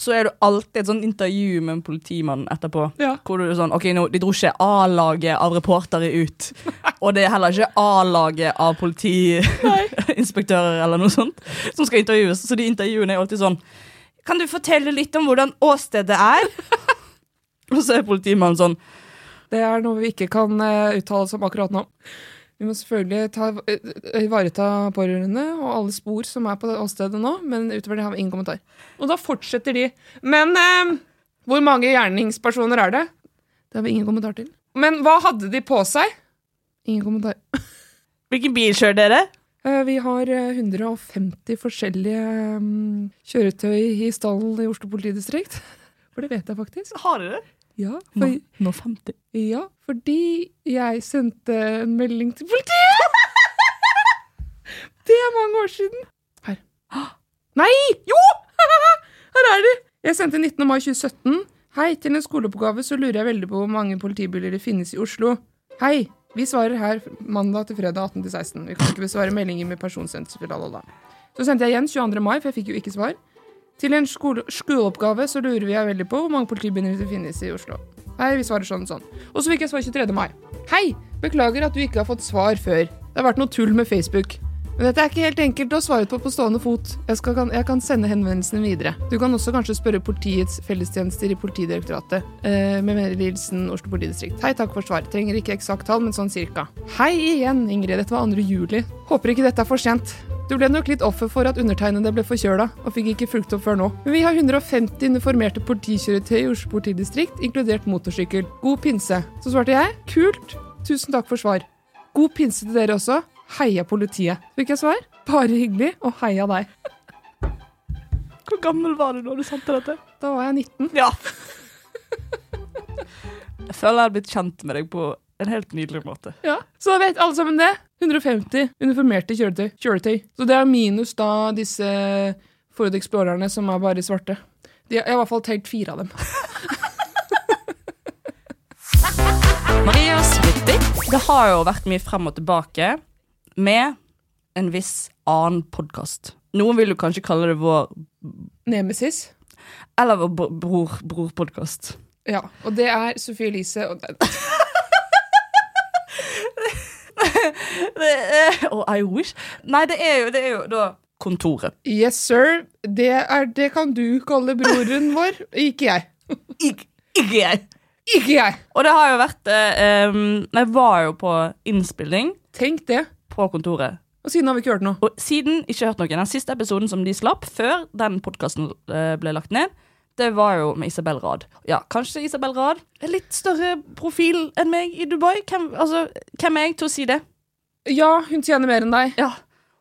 så er det alltid et sånn intervju med en politimann etterpå. Hvor du er sånn, ok, nå, De dro ikke A-laget av reportere ut, og det er heller ikke A-laget av politiinspektører eller noe sånt som skal intervjues. Så de intervjuene er alltid sånn Kan du fortelle litt om hvordan åstedet er? Og så er politimannen sånn Det er noe vi ikke kan eh, uttale oss om akkurat nå. Vi må selvfølgelig ta, eh, ivareta pårørende og alle spor som er på det åstedet nå, men utover det har vi ingen kommentar. Og da fortsetter de. Men eh, hvor mange gjerningspersoner er det? Det har vi ingen kommentar til. Men hva hadde de på seg? Ingen kommentar. Hvilken bil kjører dere? Vi har eh, 150 forskjellige mm, kjøretøy i stallen i Oslo politidistrikt. For det vet jeg faktisk. Har dere det? Ja, for, Nå- nå 50. Ja, fordi jeg sendte en melding til politiet! Det er mange år siden. Her. Nei! Jo! Her er de! Jeg sendte 19. mai 2017. Hei, til en skoleoppgave så lurer jeg veldig på hvor mange politibiler det finnes i Oslo. Hei, vi svarer her mandag til fredag 18 til 16. Vi kan ikke besvare meldinger med personsenter. Lalala. Så sendte jeg igjen 22. mai, for jeg fikk jo ikke svar. Til en skole skoleoppgave så lurer vi veldig på hvor mange politibiler det finnes i Oslo. Hei, vi svarer sånn og sånn. Og så fikk jeg svar 23. mai. Hei, beklager at du ikke har fått svar før. Det har vært noe tull med Facebook. Men dette er ikke helt enkelt å svare på på stående fot. Jeg, skal, kan, jeg kan sende henvendelsene videre. Du kan også kanskje spørre Politiets fellestjenester i Politidirektoratet. Eh, med vennlig hilsen Oslo politidistrikt. Hei, takk for svar. Trenger ikke eksakt tall, men sånn cirka. Hei igjen, Ingrid. Dette var 2. juli. Håper ikke dette er for sent. Du ble nok litt offer for at undertegnede ble forkjøla, og fikk ikke fulgt opp før nå. Men vi har 150 uniformerte politikjøretøy i Oslo politidistrikt, inkludert motorsykkel. God pinse. Så svarte jeg. Kult. Tusen takk for svar. God pinse til dere også. Heia politiet. Fikk jeg svar? Bare hyggelig, og heia deg. Hvor gammel var du da du sendte dette? Da var jeg 19. Ja. Jeg føler jeg har blitt kjent med deg på en helt nydelig måte. Ja, Så da vet alle sammen det. 150 uniformerte kjøretøy. kjøretøy. Så det er minus da disse Ford Explorerne som er bare svarte. De, jeg har i hvert fall telt fire av dem. Marias Det har jo vært mye frem og tilbake med en viss annen podkast. Noen vil jo kanskje kalle det vår Nemesis. Eller vår br- bror, brorpodkast. Ja, og det er Sophie Elise og Og I wish. Nei, det er jo, det er jo da Kontoret. Yes, sir. Det, er, det kan du kalle broren vår, ikke jeg. Ikke jeg. Ikke jeg. Og det har jo vært eh, em, Jeg var jo på innspilling. Tenk det. På kontoret. Og siden har vi ikke hørt noe. Og siden ikke hørt noe. Den siste episoden som de slapp før den podkasten ble lagt ned, det var jo med Isabel Rad. Ja, kanskje Isabel Rad er litt større profil enn meg i Dubai. Hvem, altså, hvem er jeg til å si det? Ja, hun tjener mer enn deg. Ja.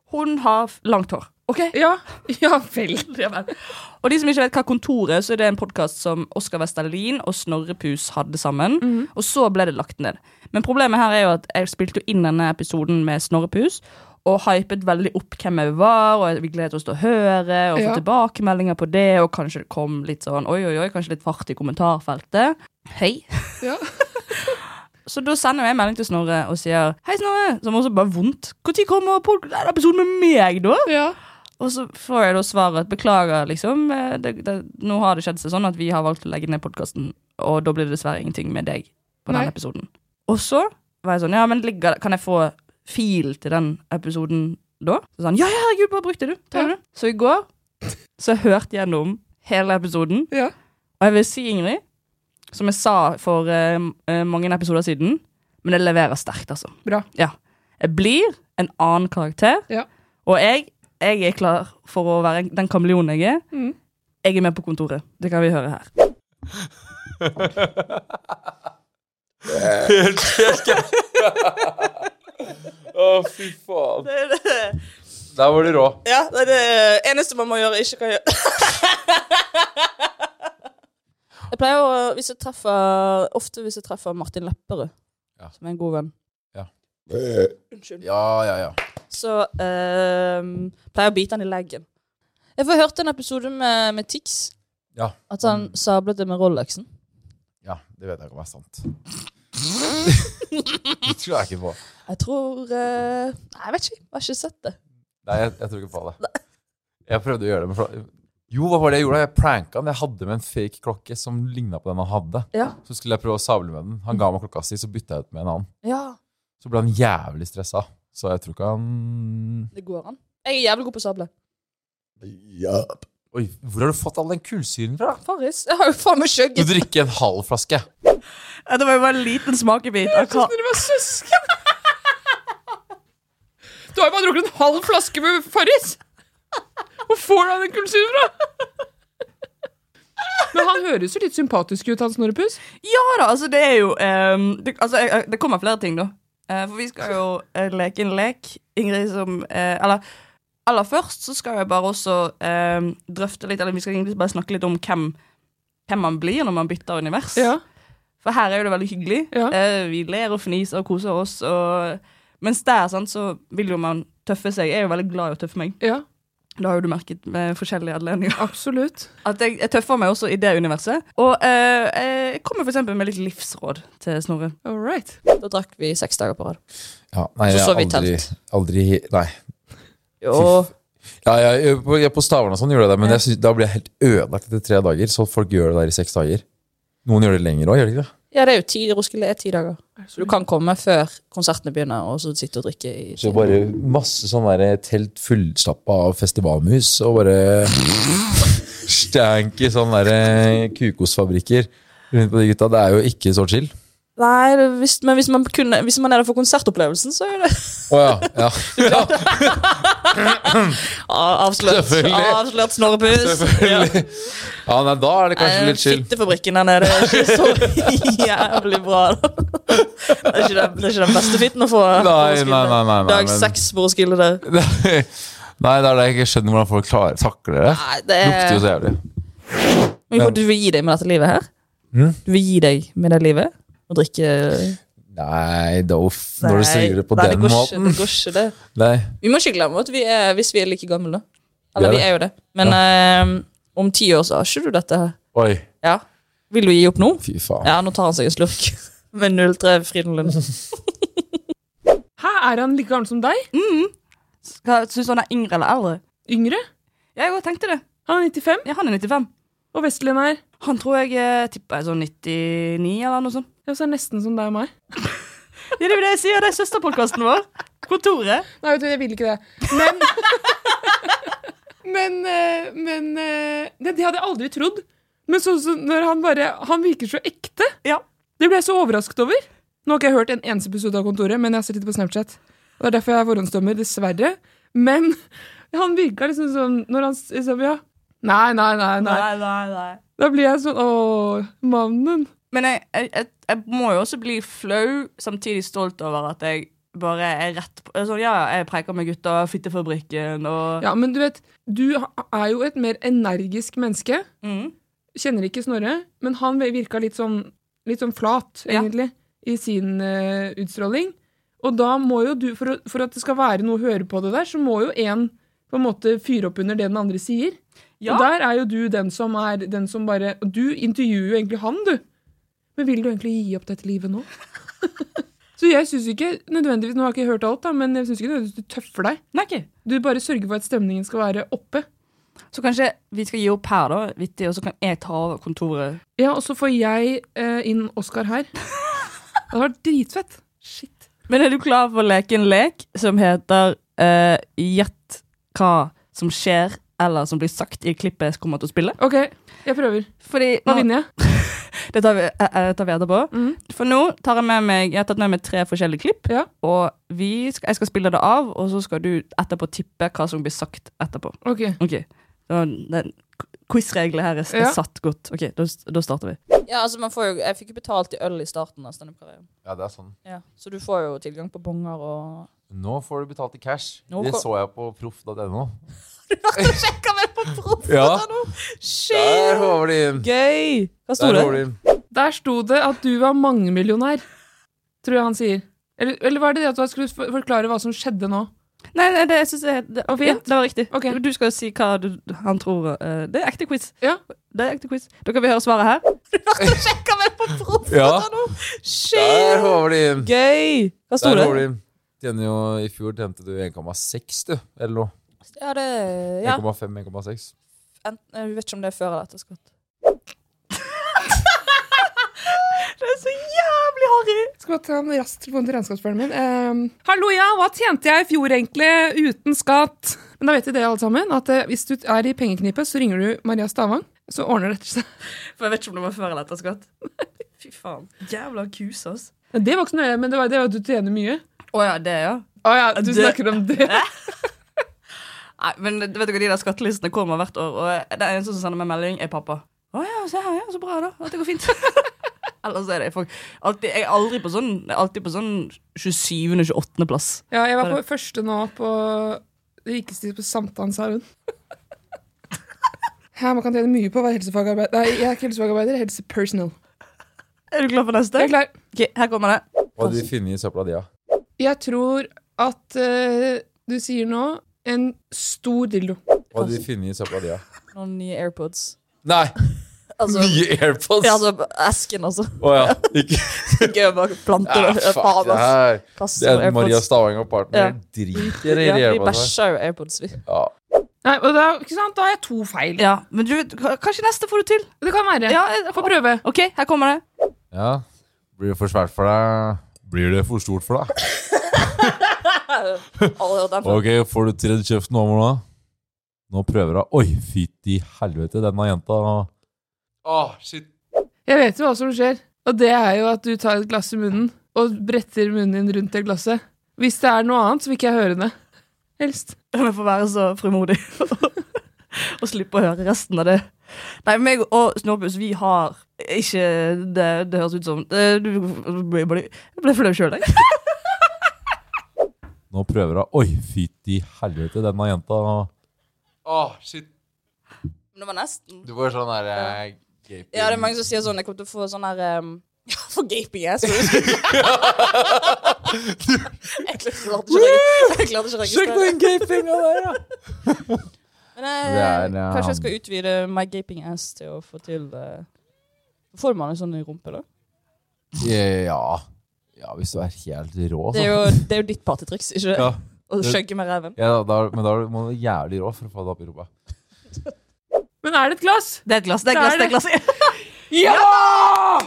Hun har f- langt hår. OK? Ja, ja vel. Ja vel. Og de som ikke vet hva Kontoret er, så er det en podkast som Oskar Westerlin og Snorre Pus hadde sammen. Mhm. Og så ble det lagt ned. Men problemet her er jo at jeg spilte jo inn denne episoden med Snorre Pus. Og hypet veldig opp hvem jeg var, og vi gledet oss til å høre. Og få Ja. tilbakemeldinger på det, og kanskje det kom litt sånn oi, oi, oi, kanskje litt fart i kommentarfeltet. Hei. Ja. Så da sender jeg en melding til Snorre og sier Hei Snorre, som også bare vondt Når kommer pod- den episoden med meg da? Og så får jeg da svaret at beklager liksom eh, det, det, Nå har det skjedd seg sånn at vi har valgt å legge ned podcasten Og da blir det dessverre ingenting med deg På Nei. den episoden Og så var jeg sånn, ja men ligger, kan jeg få fil til den episoden da? Så sa han, ja ja, herregud, bare bruk det du, ta det du Så i går, så jeg hørte gjennom hele episoden Og jeg vil si Ingrid Som jeg sa for eh, m- eh, mange episoder siden Men det leverer sterkt altså Bra. ja. Jeg blir en annen karakter. Og jeg, jeg er klar for å være den kameleonen jeg er. Mm. Jeg er med på kontoret. Det kan vi høre her. Helt kjekk. Å, fy faen. Det er det. Der var de rå. Ja, det er det eneste man må gjøre, ikke kan gjøre. Jeg pleier å, hvis jeg treffer, Ofte hvis jeg treffer Martin Lepperød, som er en god venn, Unnskyld. Ja, ja, ja. så ehm, pleier jeg å bite han i leggen. Jeg får hørte en episode med, med Tix. Ja. At han sablet det med Rolexen. Ja, det vet jeg ikke om er sant. Det tror jeg ikke på. Jeg tror eh, Nei, jeg vet ikke. Jeg har ikke sett det. Nei, jeg, jeg tror ikke på det. Jeg prøvde å gjøre det med fla- Jo, hva var det jeg gjorde? Jeg pranka han. Jeg hadde med en fake klokke som ligna på den han hadde. Ja. Så skulle jeg prøve å sable med den. Han ga meg klokka si, så bytta jeg ut med en annen. Ja, Så ble han jævlig stressa. Så jeg tror ikke han det går an. Jeg er jævlig god på å sable. Ja. Oi, hvor har du fått all den kullsyren fra? Farris. Jeg har jo faen meg Du skjøgget. drikker en halv flaske. Ja, Det var jo bare en liten smakebit. av hva- Dere var søsken! Du har jo bare drukket en halv flaske med Farris! Hvor får du av den kullsyren fra? Men han høres jo litt sympatisk ut, han Snorrepus. Ja da, altså det er jo ehm, det, altså, jeg- jeg- det kommer flere ting, da. Eh, for vi skal jo eh, leke en lek. Ingrid som eh, Eller aller først så skal jeg bare også ehm, drøfte litt Eller vi skal egentlig bare snakke litt om hvem, hvem man blir når man bytter univers. For her er jo det veldig hyggelig. Eh, vi ler og fniser og koser oss. Og, mens der sant, så vil jo man tøffe seg. Jeg er jo veldig glad i å tøffe meg. Det har jo du merket med forskjellige anledninger. Absolutt. At jeg, jeg tøffer meg også i det universet. Og eh, eh, jeg kommer for eksempel med litt livsråd til Snorre. Da drakk vi seks dager på rad. Ja, Så nei, jeg så har vi aldri, aldri Nei. Jo. Ja, ja, jeg- på, jeg, på Stavern og sånn gjorde jeg det, men jeg synes, da blir jeg helt ødelagt etter tre dager. Så folk gjør det der i seks dager. Noen gjør det lenger òg, gjør de ikke det? Ja, det er jo ti, Roskilde er ti dager. Så du kan komme før konsertene begynner, og så sitte og drikke i Så bare masse sånn der telt fullstappa av festivalmus og bare Stanky sånne der eh, kukosfabrikker rundt på de gutta. Det er jo ikke så chill. Nei, det, hvis, men hvis man, kunne, hvis man er der for konsertopplevelsen, så er det Å ja. ja. Ah, Avslørt. Selvfølgelig. Avslørt Snorrepus. Selvfølgelig. Ja, nei, da er det kanskje litt chill. Fittefabrikken der nede er ikke så jævlig bra. da. Det er ikke den, det er ikke den beste fitten å få. på Nei, Roskilde. nei, nei, nei, nei, Dag men- seks på Roskilde der. Nei, det er det jeg ikke skjønner hvordan folk klarer, takler det. Nei, det er- Lukter jo så jævlig. Men du vil gi deg med dette livet her? Mm. Du vil gi deg med det livet? Og drikke Nei, da, uff, når du sier det på nei, den går ikke, måten. det går ikke, det. Nei. Vi må ikke glemme at vi er, hvis vi er like gamle, da. Eller vi Vi er det. er jo det. Men eh, om ti år så har ikke du dette her. Oi. Ja. Vil du gi opp nå? Fy faen. Ja, nå tar han seg en slurk. Med 03 Frydenlund. Hæ, er han like gammel som deg? Syns du han er yngre eller eldre? Yngre? Jeg òg tenkte det. Han er 95? Ja, han er 95. Og Vestlien er? Han tror jeg eh, tipper er sånn 99 eller noe sånt. Ja, så er han nesten som deg og meg. Ja, det er jo det jeg sier, det er søsterpodkasten vår. Kontoret. Nei, vet du, jeg vil ikke det. Men Men, eh, men eh, det, det hadde jeg aldri trodd. Men så, så når han bare Han virker så ekte. Det ble jeg så overrasket over. Nå har ikke jeg hørt en eneste episode av Kontoret, men jeg har sett det på Snapchat. Og Det er derfor jeg er forhåndsdommer, dessverre. Men han virka liksom sånn når han s- liksom, Ja. Nei, nei, nei. nei. Da blir jeg sånn Å, mannen. Men jeg, jeg, jeg, jeg må jo også bli flau, samtidig stolt over at jeg bare er rett på sånn, Ja, jeg preker med gutta, fittefabrikken og Ja, men du vet, du er jo et mer energisk menneske. Mm. Kjenner ikke Snorre, men han virka litt sånn, litt sånn flat, egentlig, i sin eh, utstråling. Og da må jo du, for, å- for at det skal være noe å høre på det der, så må jo en på en måte fyre opp under det den andre sier. Ja. Og der er jo du den som er den som bare og Du intervjuer jo egentlig han, du. Men vil du egentlig gi opp dette livet nå? Så jeg syns ikke nødvendigvis Nå har jeg ikke hørt alt, da, men jeg syns ikke nødvendigvis du tøffer deg. Du bare sørger for at stemningen skal være oppe. Så kanskje vi skal gi opp her, da, vittig, og så kan jeg ta over kontoret. Ja, og så får jeg eh, inn Oskar her. Det hadde vært dritfett. Shit. Men er du klar for å leke en lek som heter eh, Gjett hva som skjer, eller som blir sagt i klippet jeg kommer til å spille? OK, jeg prøver. nå- Hva vinner jeg? Det tar vi, eh, eh, tar vi etterpå. For nå tar jeg med meg Jeg har tatt med meg tre forskjellige klipp. Og vi skal, jeg skal spille det av, og så skal du etterpå tippe hva som blir sagt etterpå. Ok. Ok, Så Den quizreglene her er, er Ja. satt godt. Ok, Da, da starter vi. Ja, altså man får jo, Jeg fikk jo betalt i øl i starten av standup-karrieren. Ja, det er sånn. Ja, så du får jo tilgang på bonger og Nå får du betalt i cash. Nå Det kom- så jeg på proff.no. Ja. Der håver de inn. Gøy! Hva sto Der det? holder Der sto det at du var mangemillionær, tror jeg han sier. Eller, eller var det det at du skulle for- forklare hva som skjedde nå? Nei, nei, det, jeg synes det, det, ok, Fint. det var riktig. Du skal jo si hva du, han tror. eh, det er ekte quiz. Det er ekte quiz. Dere vil høre svaret her. Ja. Der Shit! håver de inn. Gøy! Hva sto Der det? håver de inn. Tjener jo, I fjor tjente du 1,6, du. Eller noe. Ja, det ja. 1,5-1,6. Enten, jeg vet ikke om det er før eller etter skatt. Det er så jævlig harry! Skal bare ta en raskt telefon til regnskapsføreren min. Ehm, Hallo, ja, hva tjente jeg i fjor egentlig uten skatt? Men da vet vi det, alle sammen, at eh, hvis du er i pengeknipet, så ringer du Maria Stavang, så ordner dette seg. For jeg vet ikke om det var før eller etter skatt. Fy faen. Jævla kus, ass. Men Det var ikke så nøye, men det var det var at du tjener mye. Å ja, det, ja. Å ja, du Det- snakker om det. Nei, men vet dere, De der skattelistene kommer hvert år, og det eneste som sender meg melding, er pappa. Å ja, se her, ja, så bra, da. At det går fint. Ellers er det folk alltid, Jeg er aldri på sånn, jeg er alltid på sånn 27.-28. plass. Ja, jeg var på første nå på det rikeste på Sankthanshaugen. Ja, man kan tjene mye på å være helsefagarbeider. Nei, jeg er ikke helsefagarbeider, jeg er helsepersonal. Er du klar for neste? Jeg er klar. her kommer det. Hva hadde de funnet i søpla di, da? Jeg tror at eh, du sier nå en stor dildo. Hva hadde de funnet i søpla di, da? Noen nye AirPods. Nei! Nye AirPods? Altså- Ja, altså esken, altså. Å ja. Ikke Gøy å bare plante Ja, det. fuck Faen, det ass. her. Kaster Det er AirPods. Maria Stavang og partner. Ja. Driter i Ja, vi AirPods her. bæsjer jo AirPods, vi. Ja. Nei, og da, ikke sant? da har jeg to feil. Ja, Men du, k- kanskje neste får du til. Det kan være. Ja, eh, jeg Få prøve. Ok, her kommer det. ja. Blir det for svært for deg? Blir det for stort for deg? Alle hørt den før. Ok, får du tredd kjeften over nå? Nå prøver hun. Oi, fytti helvete, denne jenta. Åh, shit. Jeg vet jo hva som skjer, og det er jo at du tar et glass i munnen og bretter munnen din rundt det glasset. Hvis det er noe annet, så vil ikke jeg høre det. Helst. Men får være så frimodig og slippe å høre resten av det. Nei, meg og Snorbus, vi har ikke Det, det høres ut som eh, du, Jeg ble jeg ble flau sjøl, jeg. Nå prøver hun. Oi, fytti helvete, denne jenta. Åh, shit. Men det var nesten. Du får sånn der eh, gaping. Ja, det er mange som sier sånn Jeg kommer til å få sånn her um, Ja, for gaping ass. jeg klarte ikke å reg- jeg klarte ikke å Sjekk registrere. på den gapinga der, ja! Men jeg, Det er, ja. kanskje jeg skal utvide my gaping ass til å få til eh, Får man en sånn i rumpe, da? Ja. ja, hvis du er helt rå. så. Det er jo, det er jo ditt partytriks, ikke det? Ja. Å skjegge med reven. Ja, da, da- men da må du være jævlig rå for å få det opp i rumpa. Men er det et glass? Det er et glass. det er et glass, det er et glass. ja!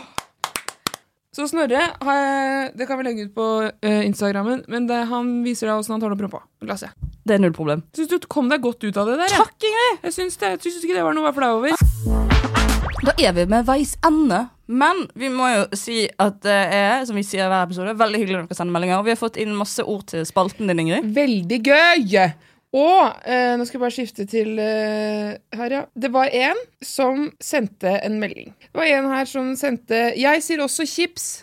Så Snorre, har jeg- det kan vi legge ut på eh, Instagrammen, men det, han viser deg åssen han tar opp rumpa. Glasset. Det er null problem. Syns du kom deg godt ut av det der? jeg. Takk, Ingrid! Jeg syns, det, jeg syns ikke det var noe å være flau over. Da er vi ved veis ende. Men vi må jo si at det er som vi sier i hver episode, veldig hyggelig når dere sender meldinger. Og vi har fått inn masse ord til spalten din, Ingrid. Veldig gøy! Og eh, nå skal jeg bare skifte til eh, her, ja. Det var en som sendte en melding. Det var en her som sendte 'Jeg sier også chips'.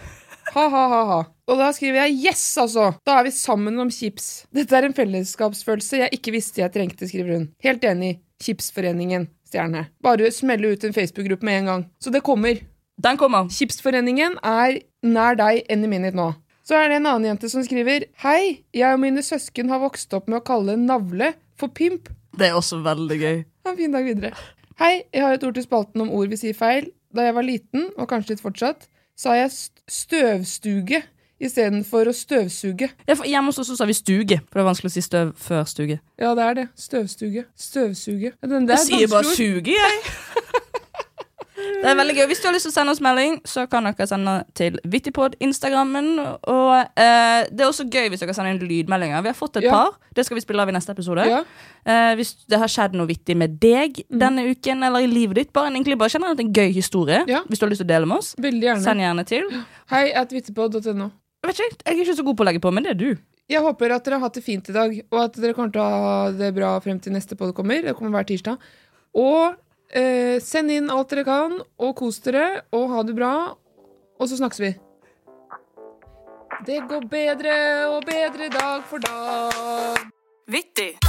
Ha-ha-ha. Og da skriver jeg 'yes', altså. Da er vi sammen om chips. Dette er en fellesskapsfølelse jeg ikke visste jeg trengte, skriver hun. Helt enig. Chipsforeningen. Stjerne. Bare smelle ut en Facebook-gruppe med en gang. Så det kommer. Den kommer. Chipsforeningen er nær deg any minute nå. Så er det en annen jente som skriver Hei, jeg og mine søsken har vokst opp med å kalle en navle for pimp. Det er også veldig gøy. Ha en fin dag videre. Hei, jeg har et ord til spalten om ord vi sier feil. Da jeg var liten, og kanskje litt fortsatt, sa jeg st- støvstuge istedenfor å støvsuge. Ja, for Hjemme hos oss så sa vi stuge, for det var vanskelig å si støv før stuge. Ja, det er det. Støvstuge. Støvsuge. Ja, Den Jeg sier bare vanskelig ord. suge, jeg. Det er veldig gøy. Hvis du har lyst til å sende oss melding, så kan dere sende til Vittipod, Instagrammen. Og eh, det er også gøy hvis dere sender inn lydmeldinger. Vi har fått et Ja. par. Det skal vi spille av i neste episode. Ja. Eh, hvis det har skjedd noe vittig med deg denne uken eller i livet ditt, bare, en- egentlig bare generelt en gøy historie, hvis du har lyst til å dele med oss, Veldig gjerne. send gjerne til. Hei at vittepod.no. Jeg vet ikke, jeg er ikke så god på å legge på, men det er du. Jeg håper at dere har hatt det fint i dag, og at dere kommer til å ha det bra frem til neste podd kommer. Det kommer hver tirsdag. Og Eh, send inn alt dere kan, og kos dere, og ha det bra. Og så snakkes vi. Det går bedre og bedre dag for dag. Vittig.